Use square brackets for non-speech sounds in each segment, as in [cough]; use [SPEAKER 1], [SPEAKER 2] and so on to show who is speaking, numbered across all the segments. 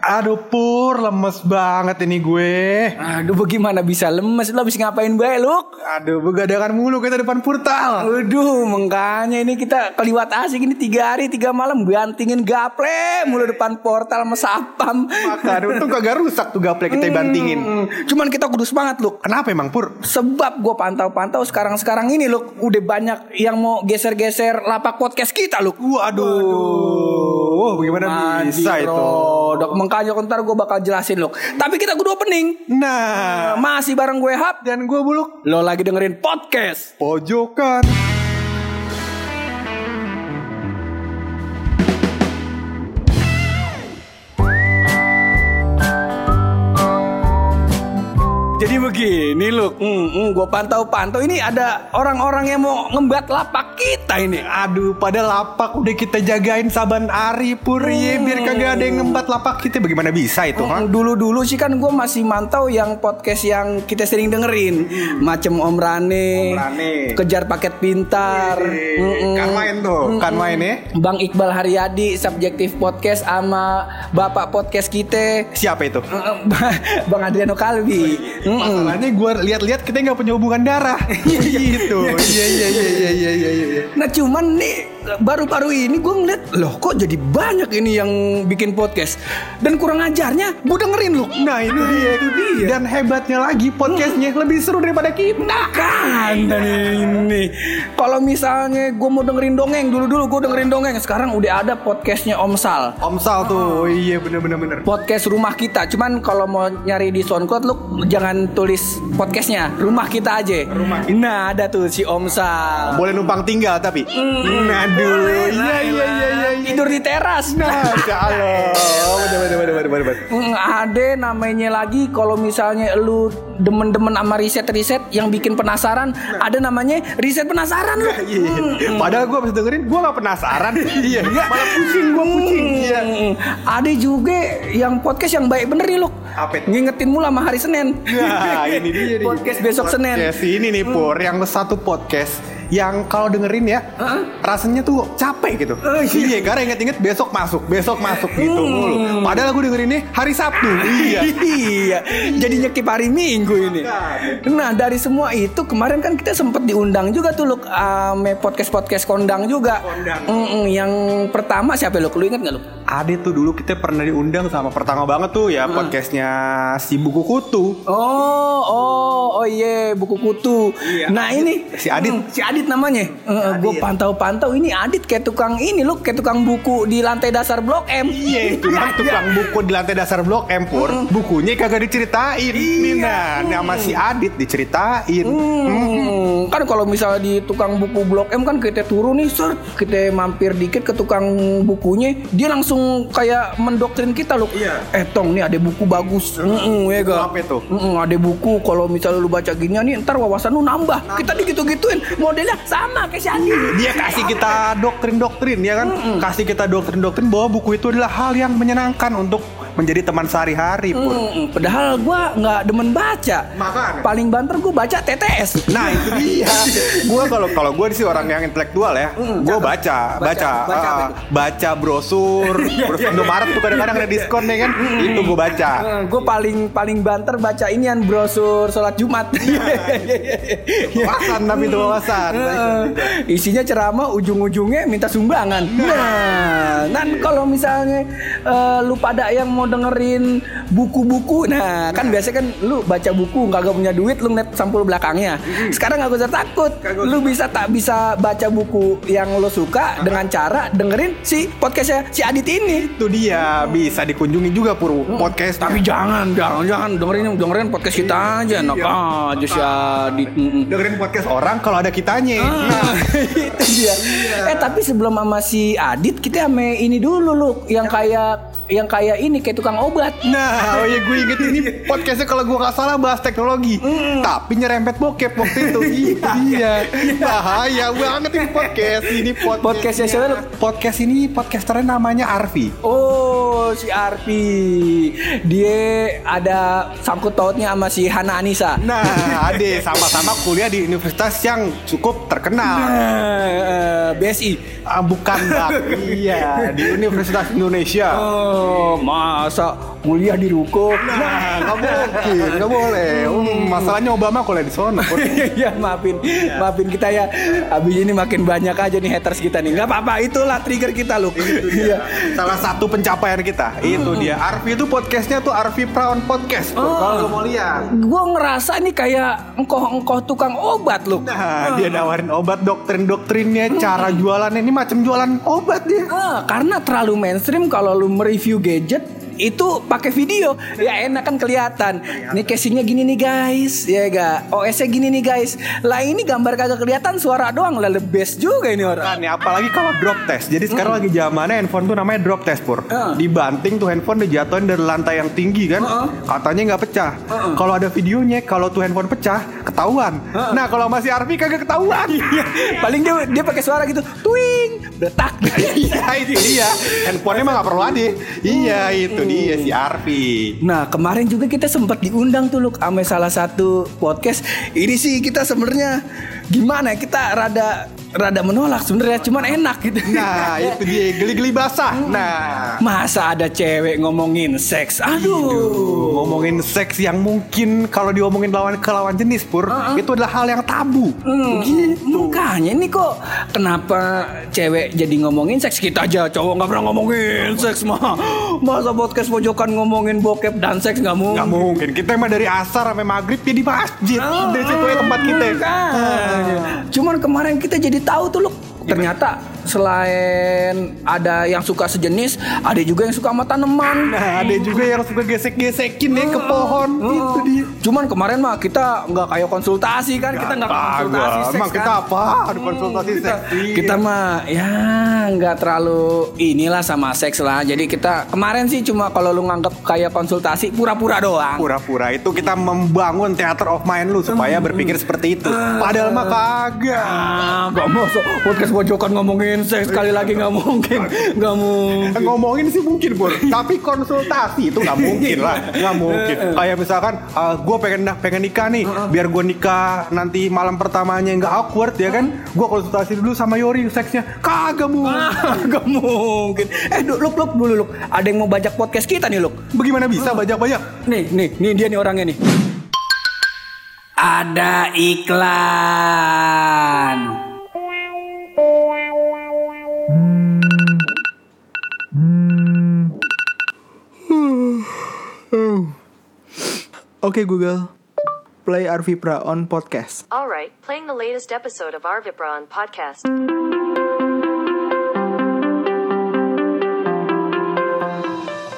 [SPEAKER 1] Aduh Pur, lemes banget ini gue.
[SPEAKER 2] Aduh bagaimana bisa lemes Lu habis ngapain baik lu
[SPEAKER 1] Aduh, begadang mulu kita depan portal.
[SPEAKER 2] Aduh makanya ini kita keliwat asik ini tiga hari tiga malam Gantingin gaple mulu depan portal sama sapam
[SPEAKER 1] Maka aduh, untung kagak rusak tuh gaplek kita bantingin.
[SPEAKER 2] Hmm, Cuman kita kudu semangat lu
[SPEAKER 1] Kenapa emang Pur?
[SPEAKER 2] Sebab gue pantau-pantau sekarang-sekarang ini lu Udah banyak yang mau geser-geser lapak podcast kita lu
[SPEAKER 1] Waduh, bagaimana bisa itu?
[SPEAKER 2] Dok makanya ntar gue bakal jelasin lu Tapi kita kudu opening
[SPEAKER 1] Nah,
[SPEAKER 2] Masih bareng gue Hap
[SPEAKER 1] dan gue buluk
[SPEAKER 2] Lo lagi dengerin podcast
[SPEAKER 1] pojokan.
[SPEAKER 2] Jadi begini lu hmm, hmm, Gue pantau-pantau ini ada orang-orang yang mau ngembat lapak kita ini
[SPEAKER 1] Aduh, pada lapak udah kita jagain saban hari Pur, Ye, biar kagak ada yang ngembat lapak kita. Bagaimana bisa itu, ha?
[SPEAKER 2] Dulu-dulu sih kan gue masih mantau yang podcast yang kita sering dengerin Macem Om
[SPEAKER 1] Hmm. Om
[SPEAKER 2] Rane,
[SPEAKER 1] Rane.
[SPEAKER 2] Kejar Paket Pintar Mm-mm.
[SPEAKER 1] Kan main tuh, kan main ya.
[SPEAKER 2] Bang Iqbal Haryadi, Subjektif Podcast sama Bapak Podcast kita [laughs]
[SPEAKER 1] Siapa itu?
[SPEAKER 2] Mm-mm. Bang Adriano
[SPEAKER 1] Oh,
[SPEAKER 2] Kalbi
[SPEAKER 1] iya.
[SPEAKER 2] Hmm. Mm-mm.
[SPEAKER 1] Masalahnya gue lihat-lihat kita nggak punya hubungan [laughs] darah. gitu. Iya iya iya iya iya iya. iya.
[SPEAKER 2] Nah cuman nih baru-baru ini gue ngeliat loh kok jadi banyak ini yang bikin podcast dan kurang ajarnya gue dengerin lu
[SPEAKER 1] Nah itu dia itu dia. Mm. Dan hebatnya lagi podcastnya lebih seru daripada kita.
[SPEAKER 2] kan dan ini kalau misalnya gue mau dengerin dongeng dulu-dulu gue dengerin dongeng sekarang udah ada podcastnya Om Sal
[SPEAKER 1] Om Sal tuh, iya bener bener bener.
[SPEAKER 2] podcast rumah kita cuman kalau mau nyari di SoundCloud lu jangan tulis podcastnya rumah kita aja
[SPEAKER 1] Rumah kita.
[SPEAKER 2] nah ada tuh si Om Sal
[SPEAKER 1] Boleh numpang tinggal tapi. Mm, aduh, iya iya iya iya. iya.
[SPEAKER 2] tidur di teras
[SPEAKER 1] Nah, kalau bener bener bener bener bener.
[SPEAKER 2] Mm, ada namanya lagi kalau misalnya lu demen-demen sama riset-riset yang bikin penasaran, ada namanya riset penasaran lu.
[SPEAKER 1] Nah.
[SPEAKER 2] Hmm,
[SPEAKER 1] Iya, iya. Padahal gue habis dengerin, gue gak penasaran. Iya, malah pusing gue pusing. Iya.
[SPEAKER 2] Mm, Ada juga yang podcast yang baik bener nih lu.
[SPEAKER 1] Apa itu?
[SPEAKER 2] Ngingetin mula sama hari Senin. [laughs]
[SPEAKER 1] Nah, ini dia nih.
[SPEAKER 2] Podcast besok Senin.
[SPEAKER 1] Podcast ini nih Pur, yang satu podcast yang kalau dengerin ya, rasanya tuh capek gitu.
[SPEAKER 2] Oh,
[SPEAKER 1] iya. karena inget-inget besok masuk, besok masuk
[SPEAKER 2] Hmm.
[SPEAKER 1] gitu mulu. Padahal gue dengerin nih hari Sabtu. iya.
[SPEAKER 2] iya. Jadi nyekip hari Minggu ini. Nah, dari semua itu kemarin kan kita sempet diundang juga tuh Luk ame podcast-podcast kondang juga.
[SPEAKER 1] Kondang.
[SPEAKER 2] Mm-mm, yang pertama siapa Luk? Lu inget gak Luk?
[SPEAKER 1] Ada tuh dulu kita pernah diundang sama pertama banget tuh ya podcastnya si buku kutu.
[SPEAKER 2] Oh, oh, oh iya, buku kutu.
[SPEAKER 1] Iya,
[SPEAKER 2] nah
[SPEAKER 1] Adit.
[SPEAKER 2] ini
[SPEAKER 1] Si Adit.
[SPEAKER 2] Hmm, si Adit namanya. gue
[SPEAKER 1] Adit.
[SPEAKER 2] pantau-pantau ini Adit kayak tukang ini loh, kayak tukang buku di lantai dasar blok M.
[SPEAKER 1] Iya, cuman tukang buku di lantai dasar Blok M Pur, bukunya kagak diceritain. Nina, nama si Adit diceritain.
[SPEAKER 2] Iya. Hmm, kan kalau misalnya di tukang buku blok M kan kita turun nih, sir, kita mampir dikit ke tukang bukunya, dia langsung kayak mendoktrin kita loh.
[SPEAKER 1] Iya.
[SPEAKER 2] Eh tong nih ada buku bagus. Mm-mm, ya ga?
[SPEAKER 1] Apa itu?
[SPEAKER 2] Mm-mm, ada buku kalau misalnya lu baca gini nih, ntar wawasan lu nambah. Kita digitu-gituin, modelnya sama kayak si Andi.
[SPEAKER 1] Dia kasih kita doktrin-doktrin ya kan? Kasih kita doktrin-doktrin bahwa buku itu adalah hal yang menyenangkan untuk menjadi teman sehari-hari Pur.
[SPEAKER 2] Mm, padahal gua nggak demen baca.
[SPEAKER 1] Makanya.
[SPEAKER 2] Paling banter gua baca TTS.
[SPEAKER 1] Nah itu dia. gue kalau kalau gue sih orang yang intelektual ya. Gue baca, baca, baca,
[SPEAKER 2] Mm, Baca, baca apa Iya,
[SPEAKER 1] ah, baca
[SPEAKER 2] [laughs]
[SPEAKER 1] brosur, brosur Indomaret tuh kadang-kadang ada diskon ya kan. Itu gue baca.
[SPEAKER 2] Eh, gua
[SPEAKER 1] gitu.
[SPEAKER 2] paling paling banter baca inian brosur sholat Jumat.
[SPEAKER 1] Iya.
[SPEAKER 2] [laughs]
[SPEAKER 1] Wawasan tapi itu wawasan.
[SPEAKER 2] Eh, Isinya ceramah ujung-ujungnya minta sumbangan. Nah, nah kalau misalnya eh, lu pada yang mau dengerin buku-buku, nah kan biasanya kan lu baca buku kagak punya duit lu net sampul belakangnya. Sekarang nggak Mm-hmm. usah Nah. takut, lu bisa tak bisa baca buku yang lu suka dengan cara dengerin si podcastnya si Adit ini.
[SPEAKER 1] Itu dia bisa dikunjungi juga
[SPEAKER 2] Mm.
[SPEAKER 1] Pur podcast.
[SPEAKER 2] Tapi jangan, jangan, jangan dengerin dengerin podcast kita aja, enak aja si Adit. Mm-mm.
[SPEAKER 1] dengerin podcast orang kalau ada kitanya.
[SPEAKER 2] Ah.
[SPEAKER 1] Nah,
[SPEAKER 2] itu dia. Eh tapi sebelum sama si Adit kita sama ini dulu lu yang kayak yang kayak ini kayak tukang obat.
[SPEAKER 1] Nah, [laughs] oh iya gue inget ini podcastnya kalau gue nggak salah bahas teknologi, tapi nyerempet bokep waktu [laughs] itu. Itu dia. Bahaya banget ini podcast ini Iya. podcast.
[SPEAKER 2] Podcast yang siapa lu?
[SPEAKER 1] Podcast ini podcasternya namanya Arfi.
[SPEAKER 2] Oh, si Arpi. Dia ada sangkut pautnya sama si Hana Anissa.
[SPEAKER 1] Nah, ade sama-sama kuliah di universitas yang cukup terkenal.
[SPEAKER 2] Eh, BSI.
[SPEAKER 1] Ah, bukan bang. iya, di Universitas Indonesia.
[SPEAKER 2] Oh, masa kuliah di ruko.
[SPEAKER 1] Nah, nggak mungkin, nggak boleh. Hmm, masalahnya Obama kuliah di sana.
[SPEAKER 2] [laughs] ya maafin, maafin kita ya. Abis ini makin banyak aja nih haters kita nih. Nggak apa-apa, itulah trigger kita loh. Iya.
[SPEAKER 1] Salah satu pencapaian kita itu dia. Arfi itu podcastnya tuh Arfi Praon Podcast. tuh.
[SPEAKER 2] Oh.
[SPEAKER 1] Kalau lu mau lihat.
[SPEAKER 2] Gue ngerasa nih kayak engkoh-engkoh tukang obat loh.
[SPEAKER 1] Nah, dia nawarin obat doktrin-doktrinnya, cara jualannya ini macam jualan obat dia.
[SPEAKER 2] Ah, karena terlalu mainstream kalau lu mereview gadget itu pakai video ya enak kan kelihatan nih casingnya gini nih guys ya ga OS-nya gini nih guys lah ini gambar kagak kelihatan suara doang lah the best juga ini orang
[SPEAKER 1] Kan ya, apalagi kalau drop test. Jadi sekarang lagi zamannya handphone tuh namanya drop test pur.
[SPEAKER 2] Heeh.
[SPEAKER 1] Dibanting tuh handphone dijatuhin dari lantai yang tinggi kan,
[SPEAKER 2] Heeh.
[SPEAKER 1] katanya nggak pecah. Kalau ada videonya, kalau tuh handphone pecah, ketahuan. Nah kalau masih Arfi kagak ketahuan.
[SPEAKER 2] Iya. paling dia dia pakai suara gitu twing detak
[SPEAKER 1] [laughs] Iya itu dia. Handphonenya mah nggak perlu ada. Iya itu dia si Arfi.
[SPEAKER 2] Nah kemarin juga kita sempat diundang tuh Luk Ame salah satu podcast Ini sih kita sebenarnya gimana ya, kita rada rada menolak sebenarnya cuman enak gitu
[SPEAKER 1] Nah itu dia geli-geli basah. Nah
[SPEAKER 2] Masa ada cewek ngomongin seks? Aduh.
[SPEAKER 1] ngomongin seks yang mungkin kalau diomongin lawan ke lawan jenis pur itu adalah hal yang tabu.
[SPEAKER 2] Hmm, Makanya ini kok kenapa cewek jadi ngomongin seks kita aja cowok nggak pernah ngomongin seks mah masa podcast pojokan ngomongin bokep dan seks nggak mungkin.
[SPEAKER 1] Gak mungkin kita emang dari asar sampai maghrib ya di masjid
[SPEAKER 2] Ah,
[SPEAKER 1] dari situ aja tempat kita.
[SPEAKER 2] makanya. Ah, iya. Cuman kemarin kita jadi tahu tuh loh ternyata selain ada yang suka sejenis, ada juga yang suka sama tanaman.
[SPEAKER 1] Nah ada juga yang suka gesek-gesekin ya
[SPEAKER 2] Hmm.
[SPEAKER 1] ke pohon itu dia.
[SPEAKER 2] Oh. Cuman kemarin mah kita nggak kayak konsultasi kan, kita nggak konsultasi
[SPEAKER 1] Kagak,
[SPEAKER 2] seks
[SPEAKER 1] Ah, Emang
[SPEAKER 2] kan.
[SPEAKER 1] kita apa? Ada konsultasi seks. iya.
[SPEAKER 2] kita mah ya nggak terlalu inilah sama seks lah jadi kita kemarin sih cuma kalau lu nganggap kayak konsultasi pura-pura doang
[SPEAKER 1] pura-pura itu kita membangun theater of mind lu supaya
[SPEAKER 2] Hmm.
[SPEAKER 1] berpikir seperti itu. Padahal mah kagak.
[SPEAKER 2] ah nggak mau so, podcast pojokan ngomongin seks sekali lagi nggak mungkin nggak mungkin
[SPEAKER 1] ngomongin sih mungkin pur tapi konsultasi itu nggak mungkin lah nggak [laughs] mungkin kayak misalkan gue pengen pengen nikah nih biar gue nikah nanti malam pertamanya nggak awkward ya kan gue konsultasi dulu sama Yori seksnya kagak mungkin
[SPEAKER 2] Ah, [laughs] nggak mungkin eh Duk, luk luk dulu luk ada yang mau bajak podcast kita nih luk
[SPEAKER 1] bagaimana bisa banyak banyak
[SPEAKER 2] nih nih nih dia nih orangnya nih ada iklan
[SPEAKER 1] oke Google play Arvi Praon podcast
[SPEAKER 3] All right, playing the latest episode of our Vibron podcast.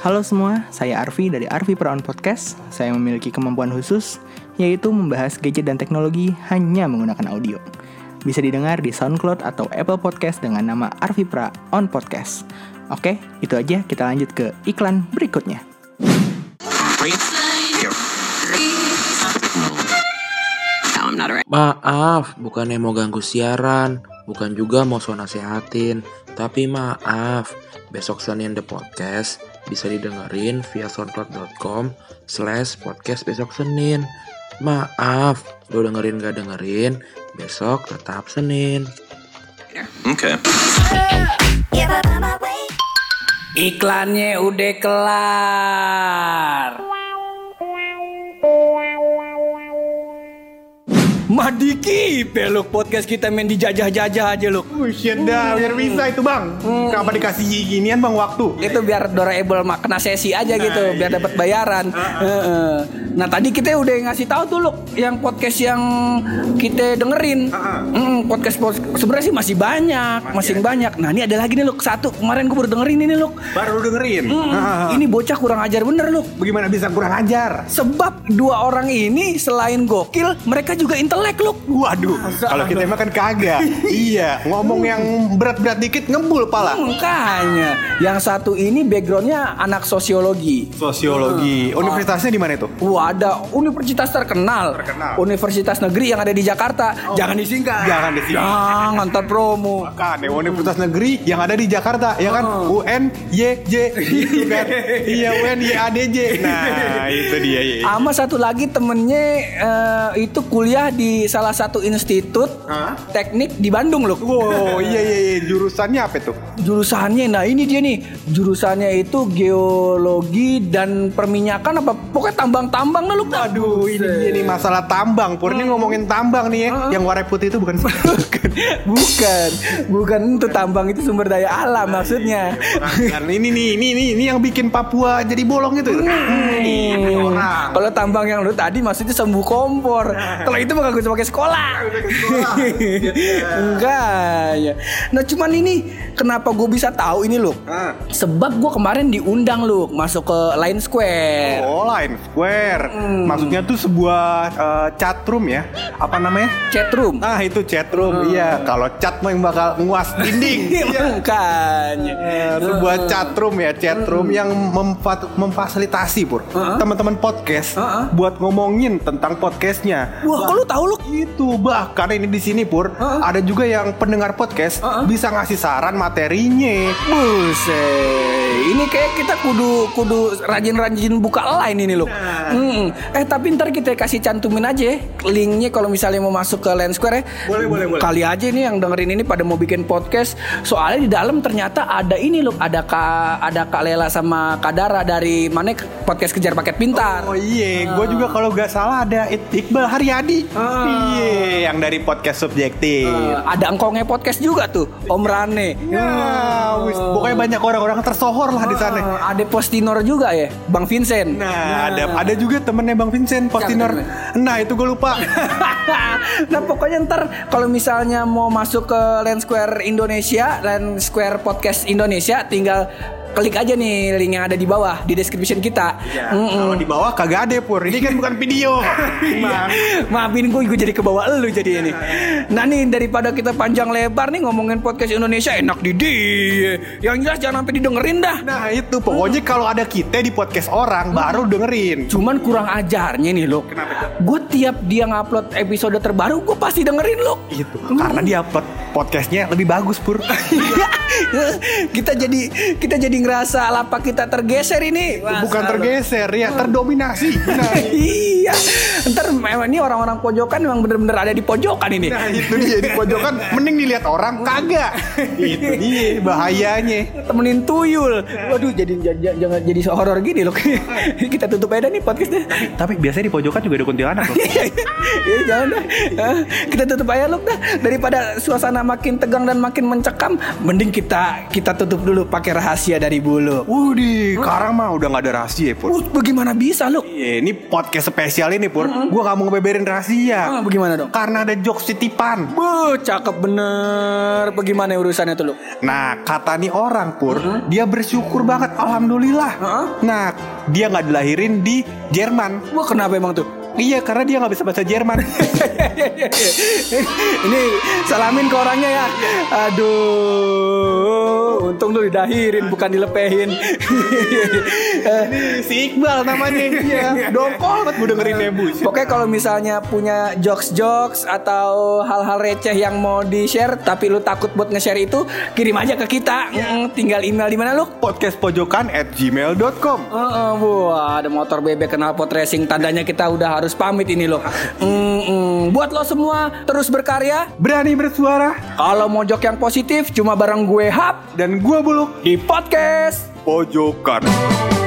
[SPEAKER 4] Halo semua, saya Arfi dari Arfi Perawan Podcast. Saya memiliki kemampuan khusus, yaitu membahas gadget dan teknologi hanya menggunakan audio. Bisa didengar di SoundCloud atau Apple Podcast dengan nama Arfi Perawan Podcast. Oke, itu aja. Kita lanjut ke iklan berikutnya.
[SPEAKER 5] Maaf, bukannya mau ganggu siaran, bukan juga mau so nasehatin, tapi maaf, besok Senin The Podcast bisa didengerin via soundcloud.com slash podcast besok Senin. Maaf, lo dengerin gak dengerin, besok tetap Senin.
[SPEAKER 2] Iklannya udah kelar. Madiki, peluk ya, podcast kita main dijajah-jajah aja lu.
[SPEAKER 1] Buset Oh, dah, biar bisa itu bang Hmm. Eh, Kenapa dikasih ginian bang waktu?
[SPEAKER 2] Itu biar Doraebel mah kena sesi
[SPEAKER 1] Nah,
[SPEAKER 2] aja gitu,
[SPEAKER 1] iya.
[SPEAKER 2] biar dapat bayaran.
[SPEAKER 1] Ah,
[SPEAKER 2] Heeh. Nah tadi kita udah ngasih tahu tuh Luk, yang podcast yang kita dengerin.
[SPEAKER 1] Ah,
[SPEAKER 2] Mm, podcast, podcast sebenarnya sih masih banyak, masih,
[SPEAKER 1] ya?
[SPEAKER 2] banyak. Nah ini ada lagi nih Luk, satu kemarin gue baru dengerin ini Luk.
[SPEAKER 1] Baru lu dengerin
[SPEAKER 2] Mm,
[SPEAKER 1] Ah,
[SPEAKER 2] Ini bocah kurang ajar bener Luk.
[SPEAKER 1] Bagaimana bisa kurang ajar?
[SPEAKER 2] Sebab dua orang ini selain gokil, mereka juga intelek, Luk.
[SPEAKER 1] Waduh, kalau kita emang kan [laughs] kagak. iya, ngomong yang berat-berat dikit ngembul pala.
[SPEAKER 2] Makanya, yang satu ini backgroundnya anak sosiologi.
[SPEAKER 1] Sosiologi. Universitasnya di mana itu?
[SPEAKER 2] Wah, ada universitas terkenal.
[SPEAKER 1] Terkenal. Oh.
[SPEAKER 2] Universitas negeri yang ada di Jakarta. Jangan disingkat.
[SPEAKER 1] Jangan disingkat.
[SPEAKER 2] Jangan ntar promo.
[SPEAKER 1] Kan, ya, Universitas Negeri yang ada di Jakarta, ya kan? UN, YJ, [laughs] gitu kan? iya, UN, YADJ. Nah, itu dia. iya.
[SPEAKER 2] Sama satu lagi temennya eh, itu kuliah di salah satu institut
[SPEAKER 1] Hah?
[SPEAKER 2] teknik di Bandung loh.
[SPEAKER 1] Wow, iya iya iya jurusannya apa tuh?
[SPEAKER 2] Jurusannya, nah ini dia nih jurusannya itu geologi dan perminyakan apa pokoknya tambang-tambang nah, lah lu.
[SPEAKER 1] Aduh, ini dia nih masalah tambang. Purni ngomongin tambang nih ya. Yang warna putih itu bukan
[SPEAKER 2] [laughs]
[SPEAKER 1] [laughs]
[SPEAKER 2] bukan, bukan itu tambang itu sumber daya alam maksudnya.
[SPEAKER 1] Bukan. Nah, ini nih, ini ini ini yang bikin Papua jadi bolong itu. Ini Iya, orang. Nah.
[SPEAKER 2] Kalau tambang yang lu tadi maksudnya sembuh kompor. Kalau itu mah kagak usah pakai sekolah. [laughs]
[SPEAKER 1] gitu.
[SPEAKER 2] Enggak ya. Nah cuman ini kenapa gue bisa tahu ini loh?
[SPEAKER 1] Ah.
[SPEAKER 2] Sebab gue kemarin diundang loh masuk ke Line Square.
[SPEAKER 1] Oh, Line Square. Maksudnya tuh sebuah eh, chatroom ya. Apa namanya?
[SPEAKER 2] Chatroom.
[SPEAKER 1] Ah, itu chatroom. Iya, kalau chat mah yang bakal nguas [laughs] dinding. Iya.
[SPEAKER 2] [laughs] Bukan.
[SPEAKER 1] Eh, sebuah chatroom ya chatroom yang memfa- memfasilitasi pur teman-teman podcast
[SPEAKER 2] Uh-uh.
[SPEAKER 1] buat ngomongin tentang podcastnya
[SPEAKER 2] Wah, kok lu tahu lu?
[SPEAKER 1] itu bahkan ini di sini pur
[SPEAKER 2] Uh-uh.
[SPEAKER 1] ada juga yang pendengar podcast
[SPEAKER 2] Uh-uh.
[SPEAKER 1] bisa ngasih saran materinya
[SPEAKER 2] Buset. Ini kayak kita kudu kudu rajin-rajin buka line ini loh. Mm-mm. Eh tapi ntar kita kasih cantumin aja ya linknya kalau misalnya mau masuk ke Line Square ya.
[SPEAKER 1] Boleh, boleh, boleh.
[SPEAKER 2] Kali aja nih yang dengerin ini pada mau bikin podcast. Soalnya di dalam ternyata ada ini loh, ada Kak ada Kak Lela sama Kak Dara dari mana podcast kejar paket pintar.
[SPEAKER 1] Oh iya, gue juga kalau gak salah ada I- Iqbal Haryadi, iya, yang dari podcast subjektif.
[SPEAKER 2] Eh, ada engkongnya podcast juga tuh, Om Rane.
[SPEAKER 1] Nah, wis, pokoknya banyak orang-orang tersohor lah di sana.
[SPEAKER 2] Eh, ada Postinor juga ya, Bang Vincent.
[SPEAKER 1] Nah, ada ada juga temennya Bang Vincent, Postinor. Nah, itu gue lupa.
[SPEAKER 2] [laughs] nah pokoknya ntar kalau misalnya mau masuk ke Land Square Indonesia, Land Square Podcast Indonesia, tinggal klik aja nih link yang ada di bawah di description kita.
[SPEAKER 1] Ya,
[SPEAKER 2] Mm-mm.
[SPEAKER 1] Kalau di bawah kagak ada pur. Ini kan bukan video. Iya. Bang.
[SPEAKER 2] Iya. Maafin gue, gue jadi kebawa elu jadi ini. Nah nih daripada kita panjang lebar nih ngomongin podcast Indonesia enak di dia. Yang jelas jangan sampai didengerin dah.
[SPEAKER 1] Nah itu pokoknya kalau ada kita di podcast orang baru dengerin.
[SPEAKER 2] Cuman kurang ajarnya nih lo. Gue tiap dia ngupload episode terbaru, gue pasti dengerin lo.
[SPEAKER 1] Itu karena dia upload podcastnya lebih bagus pur.
[SPEAKER 2] [laughs] kita jadi kita jadi ngerasa lapak kita tergeser ini.
[SPEAKER 1] bukan tergeser ya, terdominasi. Nah,
[SPEAKER 2] iya. Ntar memang ini orang-orang pojokan memang bener-bener ada di pojokan ini.
[SPEAKER 1] nah, itu dia di pojokan mending dilihat orang kagak. itu dia bahayanya.
[SPEAKER 2] Temenin tuyul.
[SPEAKER 1] Nah.
[SPEAKER 2] Waduh jadi j- j- jangan jadi horor gini loh. [laughs] kita tutup aja nih podcastnya.
[SPEAKER 1] Tapi biasanya di pojokan juga ada kuntilanak loh.
[SPEAKER 2] Iya jangan dah. Eh, Kita tutup aja loh dah. Daripada suasana makin tegang dan makin mencekam, mending kita kita tutup dulu pakai rahasia dari bulu.
[SPEAKER 1] Wudi, sekarang mah udah nggak ada rahasia ya, pur.
[SPEAKER 2] Uh, bagaimana bisa lo?
[SPEAKER 1] Iya, ini podcast spesial ini pur. Gua nggak mau ngebeberin
[SPEAKER 2] Ah,
[SPEAKER 1] rahasia.
[SPEAKER 2] bagaimana dong?
[SPEAKER 1] Karena ada jokes titipan.
[SPEAKER 2] Buh, cakep bener. Bagaimana urusannya tuh lu?
[SPEAKER 1] Nah, kata nih orang pur, dia bersyukur banget, alhamdulillah.
[SPEAKER 2] Heeh.
[SPEAKER 1] Nah, dia nggak dilahirin di Jerman.
[SPEAKER 2] Wah, kenapa emang tuh? [laughs]
[SPEAKER 1] Iya, karena dia nggak bisa bahasa Jerman. [laughs]
[SPEAKER 2] Ini salamin ke orangnya ya. Aduh, untung lu didahirin bukan
[SPEAKER 1] [laughs]
[SPEAKER 2] dilepehin. Eh,
[SPEAKER 1] si Iqbal namanya. Iya, dongkol banget gue dengerin nebus.
[SPEAKER 2] Pokoknya kalau misalnya punya jokes-jokes atau hal-hal receh yang mau di-share tapi lu takut buat nge-share itu, kirim aja ke kita. Mm, tinggal email di mana lu?
[SPEAKER 1] Podcast pojokan at gmail.com.
[SPEAKER 2] Eh, eh, wah, ada motor bebek kenal pot racing tandanya kita udah harus pamit ini loh. Mm, mm. Buat lo semua terus berkarya.
[SPEAKER 1] Berani bersuara
[SPEAKER 2] Kalau mojok yang positif cuma bareng gue Hap
[SPEAKER 1] dan gua buluk
[SPEAKER 2] di podcast
[SPEAKER 1] pojokan.